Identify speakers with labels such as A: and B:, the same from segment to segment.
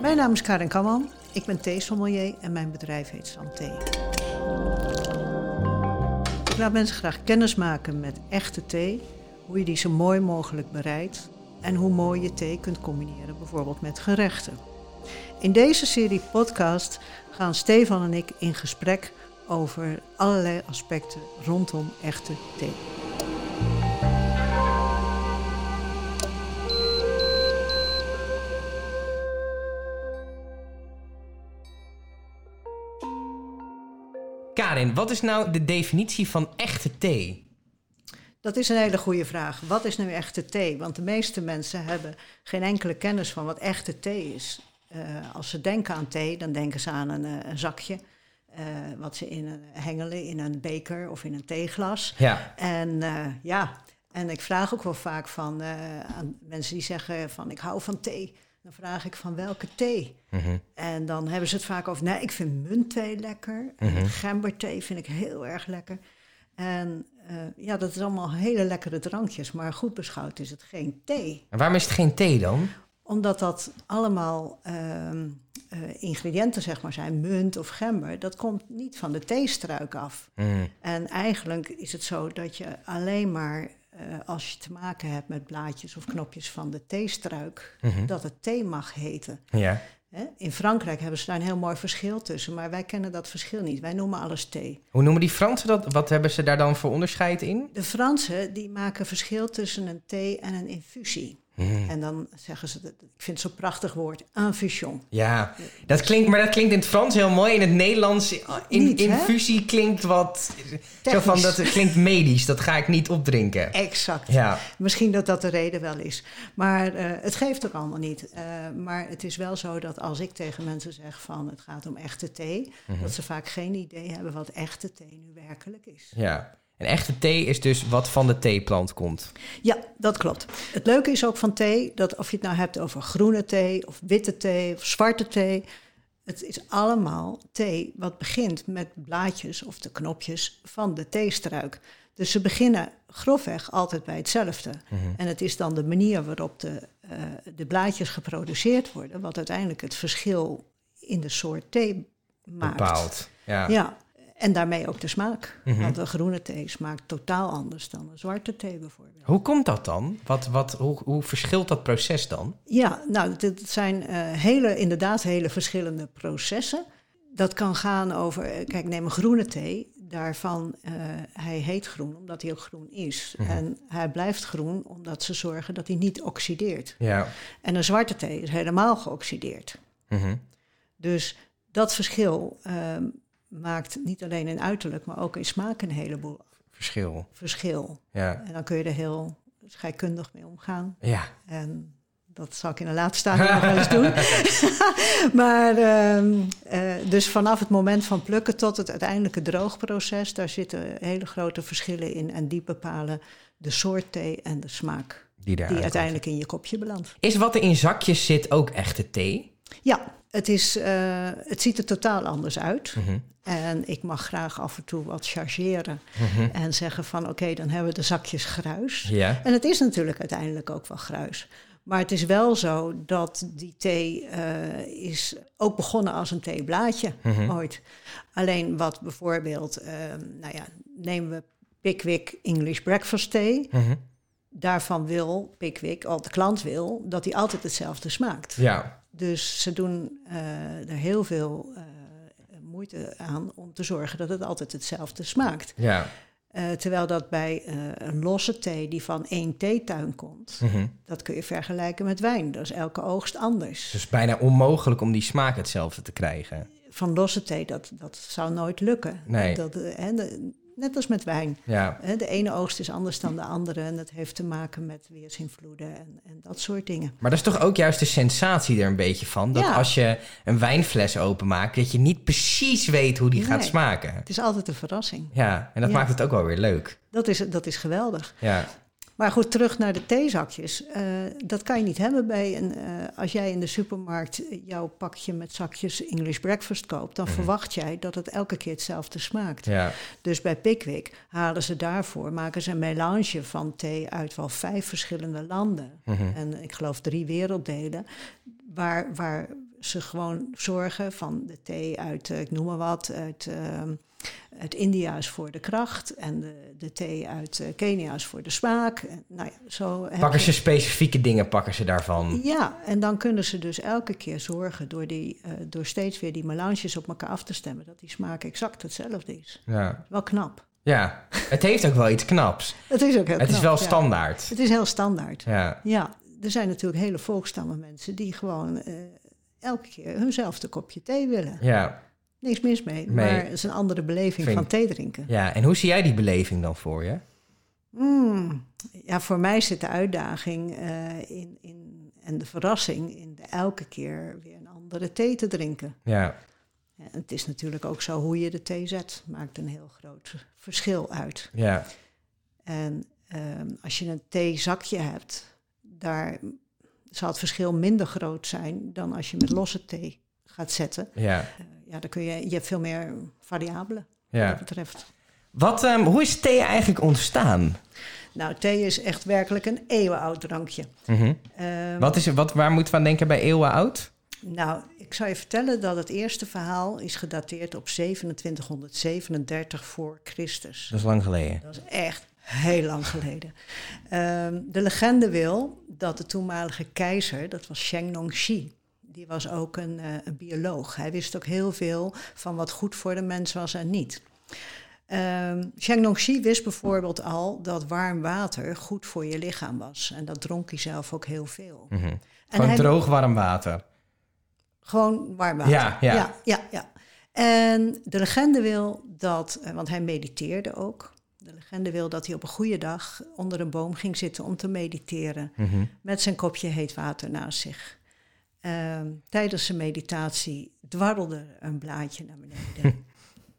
A: Mijn naam is Karin Kamman. Ik ben theesommelier en mijn bedrijf heet Santé. Ik laat mensen graag kennis maken met echte thee, hoe je die zo mooi mogelijk bereidt en hoe mooi je thee kunt combineren bijvoorbeeld met gerechten. In deze serie podcast gaan Stefan en ik in gesprek over allerlei aspecten rondom echte thee.
B: Karin, wat is nou de definitie van echte thee?
A: Dat is een hele goede vraag. Wat is nu echte thee? Want de meeste mensen hebben geen enkele kennis van wat echte thee is. Eh, als ze denken aan thee, dan denken ze aan een, eh, een zakje. eh, wat ze in een, hengelen in een beker of in een theeglas.
B: Ja.
A: En eh, ja, en ik vraag ook wel vaak van eh, aan mensen die zeggen van ik hou van thee. Dan vraag ik van welke thee?
B: Mhm.
A: En dan hebben ze het vaak over, nee, ik vind muntthee lekker. En gemberthee vind ik heel erg lekker. En eh, ja, dat is allemaal hele lekkere drankjes. Maar goed beschouwd is het geen thee.
B: En waarom is het geen thee dan?
A: Omdat dat allemaal ehm, eh, ingrediënten zeg maar, zijn, munt of gember, dat komt niet van de theestruik af.
B: Mm.
A: En eigenlijk is het zo dat je alleen maar eh, als je te maken hebt met blaadjes of knopjes van de theestruik, dat het thee mag heten.
B: Ja.
A: Hè? In Frankrijk hebben ze daar een heel mooi verschil tussen, maar wij kennen dat verschil niet. Wij noemen alles thee.
B: Hoe noemen die Fransen dat? Wat hebben ze daar dan voor onderscheid in?
A: De Fransen die maken verschil tussen een thee en een infusie. En dan zeggen ze, dat- ik vind het zo'n prachtig woord, infusion.
B: Ja, dat klinkt, maar dat klinkt in het Frans heel mooi. In het Nederlands, in,
A: Oh, Niet, hè?
B: infusie klinkt wat... Zo van, dat klinkt medisch, dat ga ik niet opdrinken.
A: Exact.
B: Ja.
A: Misschien dat dat de reden wel is. Maar eh, het geeft ook allemaal niet. Eh, maar het is wel zo dat als ik tegen mensen zeg van het gaat om echte thee, dat ze vaak geen idee hebben wat echte thee nu werkelijk is.
B: ja. En echte thee is dus wat van de theeplant komt.
A: Ja, dat klopt. Het leuke is ook van thee dat of je het nou hebt over groene thee of witte thee of zwarte thee. Het is allemaal thee wat begint met blaadjes of de knopjes van de theestruik. Dus ze beginnen grofweg altijd bij hetzelfde. En het is dan de manier waarop de, eh, de blaadjes geproduceerd worden, wat uiteindelijk het verschil in de soort thee maakt.
B: Bepaald. Ja.
A: Ja, en daarmee ook de smaak. Want een groene thee smaakt totaal anders dan een zwarte thee bijvoorbeeld.
B: Hoe komt dat dan? Wat, wat, hoe, hoe verschilt dat proces dan?
A: Ja, nou, dit zijn eh, hele, inderdaad hele verschillende processen. Dat kan gaan over, eh, kijk, neem een groene thee. Daarvan, eh, hij heet groen omdat hij ook groen is. En hij blijft groen omdat ze zorgen dat hij niet oxideert.
B: Ja.
A: En een zwarte thee is helemaal geoxideerd.
B: Mhm.
A: Dus dat verschil eh, maakt niet alleen in uiterlijk, maar ook in smaak een heleboel
B: Verschil.
A: verschil.
B: Ja.
A: En dan kun je er heel scheikundig mee omgaan.
B: Ja.
A: En dat zal ik in een later stadium nog wel eens doen. maar ehm, eh, dus vanaf het moment van plukken tot het uiteindelijke droogproces, daar zitten hele grote verschillen in. En die bepalen de soort thee en de smaak.
B: Die daar
A: Die
B: uitkomt.
A: uiteindelijk in je kopje belandt.
B: Is wat er in zakjes zit ook echte thee?
A: Ja, het, is, eh, het ziet er totaal anders uit. En ik mag graag af en toe wat chargeren. En zeggen van oké, dan hebben we de zakjes gruis.
B: Ja.
A: En het is natuurlijk uiteindelijk ook wel gruis. Maar het is wel zo dat die thee eh, is ook begonnen als een theeblaadje ooit. Alleen wat bijvoorbeeld, eh, nou ja, nemen we Pickwick English Breakfast Thee. Daarvan wil Pickwick, al de klant wil, dat hij altijd hetzelfde smaakt.
B: Ja.
A: Dus ze doen eh, er heel veel eh, moeite aan om te zorgen dat het altijd hetzelfde smaakt.
B: Ja.
A: Eh, terwijl dat bij eh, een losse thee die van één theetuin komt, dat kun je vergelijken met wijn. Dat is elke oogst anders.
B: Dus bijna onmogelijk om die smaak hetzelfde te krijgen.
A: Van losse thee, dat, dat zou nooit lukken.
B: Nee.
A: Dat, eh, hè, de- net als met wijn.
B: Ja.
A: Hè, De ene oogst is anders dan de andere en dat heeft te maken met weersinvloeden en, en dat soort dingen.
B: Maar dat is toch ook juist de sensatie er een beetje van. Dat
A: Ja.
B: als je een wijnfles openmaakt, dat je niet precies weet hoe die gaat
A: Nee.
B: smaken.
A: Het is altijd een verrassing.
B: Ja, en dat
A: Ja.
B: maakt het ook wel weer leuk.
A: Dat is, dat is geweldig.
B: Ja.
A: Maar goed, terug naar de theezakjes. Eh, dat kan je niet hebben bij een. eh, als jij in de supermarkt jouw pakje met zakjes English breakfast koopt, dan verwacht jij dat het elke keer hetzelfde smaakt.
B: Ja.
A: Dus bij Pickwick halen ze daarvoor, maken ze een melange van thee uit wel vijf verschillende landen. En ik geloof drie werelddelen. Waar, waar ze gewoon zorgen van de thee uit, eh, ik noem maar wat, uit, ehm, uit India is voor de kracht en de, de thee uit eh, Kenia is voor de smaak. En, nou ja, zo heb
B: Pakken
A: je-
B: ze specifieke dingen, pakken ze daarvan.
A: ja, en dan kunnen ze dus elke keer zorgen door, die, eh, door steeds weer die melanges op elkaar af te stemmen, dat die smaak exact hetzelfde is.
B: Ja.
A: Wel knap.
B: ja, het heeft ook wel iets knaps.
A: Het is ook heel
B: Het is
A: knap,
B: wel
A: ja.
B: standaard.
A: Het is heel standaard.
B: Ja.
A: Ja, er zijn natuurlijk hele volkstammen mensen die gewoon eh, elke keer hunzelfde kopje thee willen.
B: Ja.
A: Niks mis mee,
B: Nee.
A: maar het is een andere beleving
B: Vind-
A: van thee drinken.
B: ja, en hoe zie jij die beleving dan voor je?
A: Mm. Ja, voor mij zit de uitdaging eh, in, in, en de verrassing in de elke keer weer een andere thee te drinken.
B: Ja,
A: En het is natuurlijk ook zo hoe je de thee zet, maakt een heel groot verschil uit.
B: ja,
A: En ehm, als je een theezakje hebt, daar zal het verschil minder groot zijn dan als je met losse thee gaat zetten.
B: ja,
A: Eh, ja, dan kun je, je hebt veel meer variabelen wat
B: ja.
A: dat betreft.
B: Wat, ehm, hoe is thee eigenlijk ontstaan?
A: Nou, thee is echt werkelijk een eeuwenoud drankje.
B: Mhm.
A: Ehm,
B: Wat is, wat, waar moeten we aan denken bij eeuwen oud?
A: nou, ik zou je vertellen dat het eerste verhaal is gedateerd op 2737 voor Christus.
B: Dat is lang geleden.
A: Dat is echt heel lang geleden. Ehm, de legende wil dat de toenmalige keizer, dat was Sheng Nongxi, die was ook een, eh, een bioloog. Hij wist ook heel veel van wat goed voor de mens was en niet. Ehm Sheng Nongxi wist bijvoorbeeld al dat warm water goed voor je lichaam was. En dat dronk hij zelf ook heel veel.
B: Mhm.
A: En
B: Gewoon
A: hij-
B: droog warm water.
A: gewoon warm water.
B: Ja, ja.
A: ja, ja, ja. En de legende wil dat, eh, want hij mediteerde ook. De legende wil dat hij op een goede dag onder een boom ging zitten om te mediteren.
B: Mhm.
A: Met zijn kopje heet water naast zich. Ehm, tijdens zijn meditatie dwarrelde een blaadje naar beneden.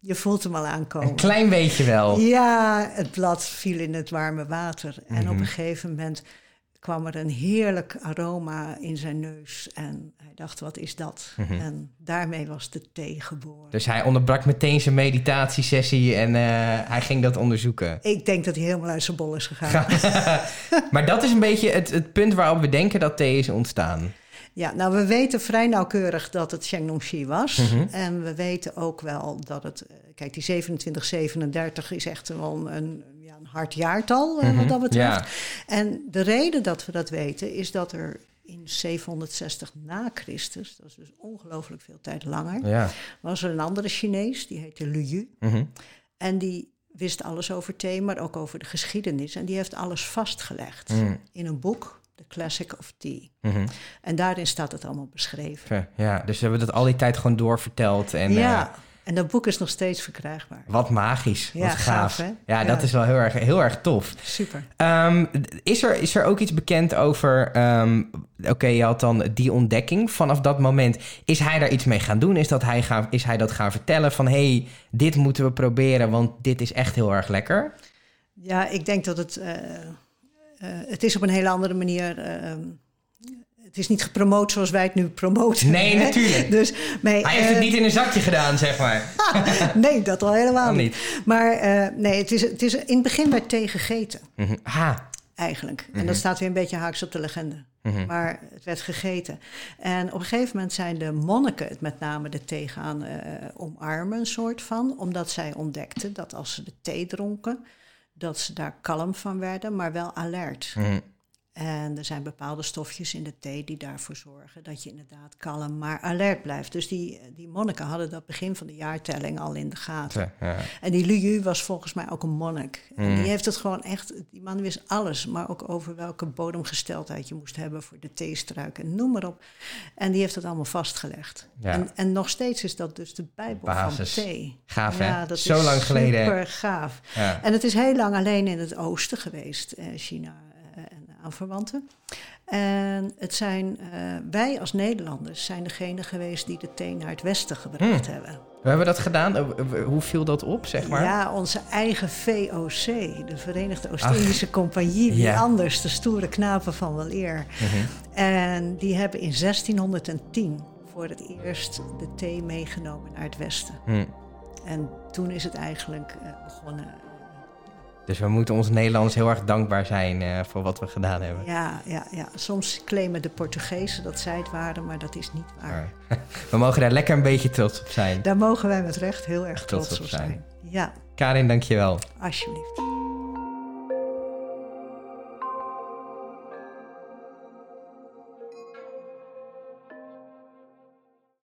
A: Je voelt hem al aankomen.
B: Een klein beetje wel.
A: Ja, het blad viel in het warme water. En op een gegeven moment kwam er een heerlijk aroma in zijn neus. En hij dacht, wat is dat? En daarmee was de thee geboren.
B: Dus hij onderbrak meteen zijn meditatiesessie en eh, hij ging dat onderzoeken.
A: Ik denk dat hij helemaal uit zijn bol is gegaan.
B: Maar dat is een beetje het, het punt waarop we denken dat thee is ontstaan.
A: Ja, nou, we weten vrij nauwkeurig dat het Shengnongxi was. En we weten ook wel dat het... eh, Kijk, die 2737 is echt wel een, een, ja, een hard jaartal, eh, wat dat betreft.
B: Mhm. Ja.
A: En de reden dat we dat weten is dat er in 760 na Christus... dat is dus ongelooflijk veel tijd langer...
B: Ja.
A: was er een andere Chinees, die heette Liu.
B: Mhm.
A: En die wist alles over thee, maar ook over de geschiedenis. En die heeft alles vastgelegd in een boek, The Classic of Tea.
B: Mhm.
A: En daarin staat het allemaal beschreven.
B: Ver- ja. Dus ze hebben dat al die tijd gewoon doorverteld. En,
A: ja,
B: eh,
A: en dat boek is nog steeds verkrijgbaar.
B: wat magisch.
A: Ja,
B: wat gaaf.
A: gaaf, hè?
B: ja, dat
A: Ja.
B: is wel heel erg, heel erg tof.
A: Super.
B: Ehm, d- is, er, is er ook iets bekend over... ehm, Oké, je had dan die ontdekking. Vanaf dat moment, is hij daar iets mee gaan doen? Is, dat hij, gaan, is hij dat gaan vertellen van... hé, hey, dit moeten we proberen, want dit is echt heel erg lekker?
A: Ja, ik denk dat het. eh, eh, het is op een hele andere manier. eh, het is niet gepromoot zoals wij het nu promoten.
B: Nee,
A: hè?
B: natuurlijk.
A: Dus, nee,
B: Hij heeft het
A: eh,
B: niet in een zakje gedaan, zeg maar.
A: nee, dat al helemaal
B: Kan
A: niet.
B: niet.
A: Maar eh, nee, het is, het is in het begin werd thee gegeten,
B: Mhm. Ha.
A: eigenlijk. En dat staat weer een beetje haaks op de legende. Maar het werd gegeten. En op een gegeven moment zijn de monniken het met name de thee gaan eh, omarmen, een soort van. Omdat zij ontdekten dat als ze de thee dronken, dat ze daar kalm van werden, maar wel alert.
B: Mhm.
A: En er zijn bepaalde stofjes in de thee die daarvoor zorgen dat je inderdaad kalm, maar alert blijft. Dus die, die monniken hadden dat begin van de jaartelling al in de gaten.
B: Zo, ja.
A: En die Liu was volgens mij ook een monnik. En
B: Mm.
A: die heeft het gewoon echt, die man wist alles, maar ook over welke bodemgesteldheid je moest hebben voor de theestruik en noem maar op. En die heeft dat allemaal vastgelegd.
B: Ja.
A: En, en nog steeds is dat dus de Bijbel
B: Basis.
A: van thee.
B: Gaaf, hè?
A: ja, dat
B: Zo
A: is
B: lang geleden.
A: Super gaaf.
B: Ja.
A: En het is heel lang alleen in het oosten geweest, eh, China eh, en aanverwanten. En het zijn, eh, wij als Nederlanders zijn degene geweest die de thee naar het westen gebracht
B: Mm.
A: hebben.
B: We hebben dat gedaan. Eh, eh, Hoe viel dat op, zeg maar?
A: Ja, onze eigen VOC, de Verenigde Oost-Indische Compagnie, wie
B: ja. Mhm.
A: anders, de stoere knapen van wel eer. En die hebben in 1610 voor het eerst de thee meegenomen naar het Westen.
B: Hm.
A: En toen is het eigenlijk eh, begonnen
B: Dus we moeten ons Nederlands heel erg dankbaar zijn eh, voor wat we gedaan hebben.
A: Ja, ja, ja, soms claimen de Portugezen dat zij het waren, maar dat is niet waar.
B: Maar we mogen daar lekker een beetje trots op zijn.
A: Daar mogen wij met recht heel erg trots, op zijn. Ja,
B: Karin, dankjewel.
A: alsjeblieft.